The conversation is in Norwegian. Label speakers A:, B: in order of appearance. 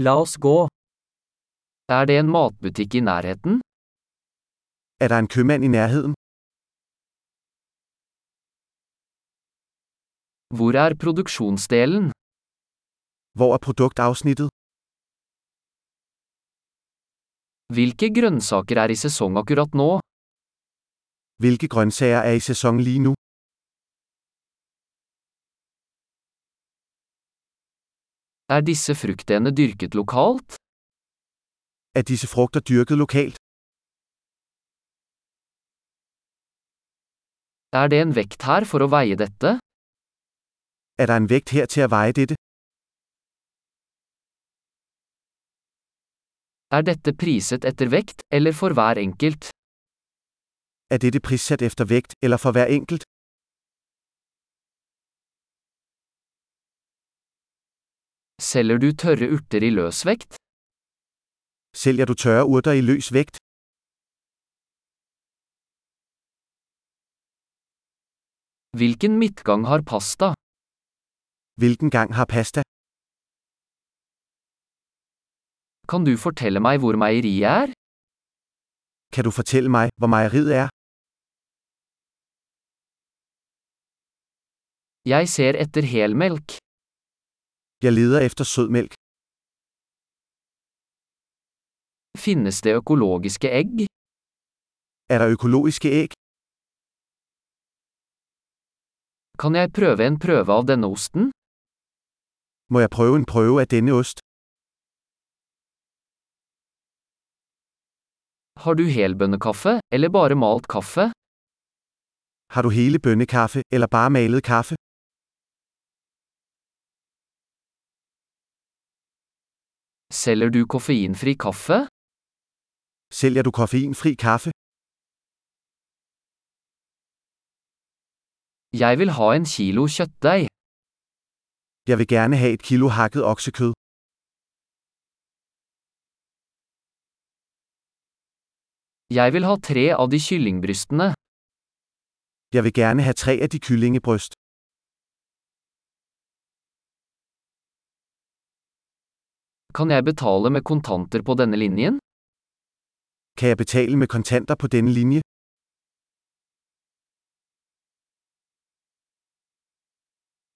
A: La oss gå. Er det en matbutikk i nærheten?
B: Er der en købmand i nærheden?
A: Hvor er produksjonsdelen?
B: Hvor er produktafsnittet?
A: Hvilke grønnsaker er i sesong akkurat nå?
B: Hvilke grøntsager er i sæson lige nu?
A: Er disse fruktene dyrket lokalt?
B: Er disse frugter dyrket lokalt?
A: Er det en vekt her for å veie dette?
B: Er der en vægt her til at veje dette?
A: Er dette priset etter vekt, eller for hver enkelt?
B: Er dette prissat efter vægt eller for hver enkelt?
A: Selger du tørre urter i løsvekt?
B: Sælger du tørre urter i løs vægt?
A: Hvilken midtgang har pasta?
B: Hvilken gang har pasta?
A: Kan du fortelle meg hvor meieriet er?
B: Kan du fortælle mig, hvor mejeriet er?
A: Jeg ser etter helmelk.
B: Jeg leder efter sødmælk.
A: Finnes det økologiske egg?
B: Er der økologiske æg?
A: Kan jeg prøve en prøve av denne osten?
B: Må jeg prøve en prøve af denne ost?
A: Har du helbønnekaffe, eller bare malt kaffe?
B: Har du hele bønnekaffe eller bare malet kaffe?
A: Selger du koffeinfri kaffe?
B: Sælger du koffeinfri kaffe?
A: Jeg vil ha en kilo kjøttdeig.
B: Jeg vil gerne have et kilo hakket oksekød.
A: Jeg vil ha tre av de kyllingbrystene.
B: Jeg vil gerne have tre af de kyllingebryst.
A: Kan jeg betale med kontanter på denne linjen?
B: Kan jeg betale med kontanter på denne linje?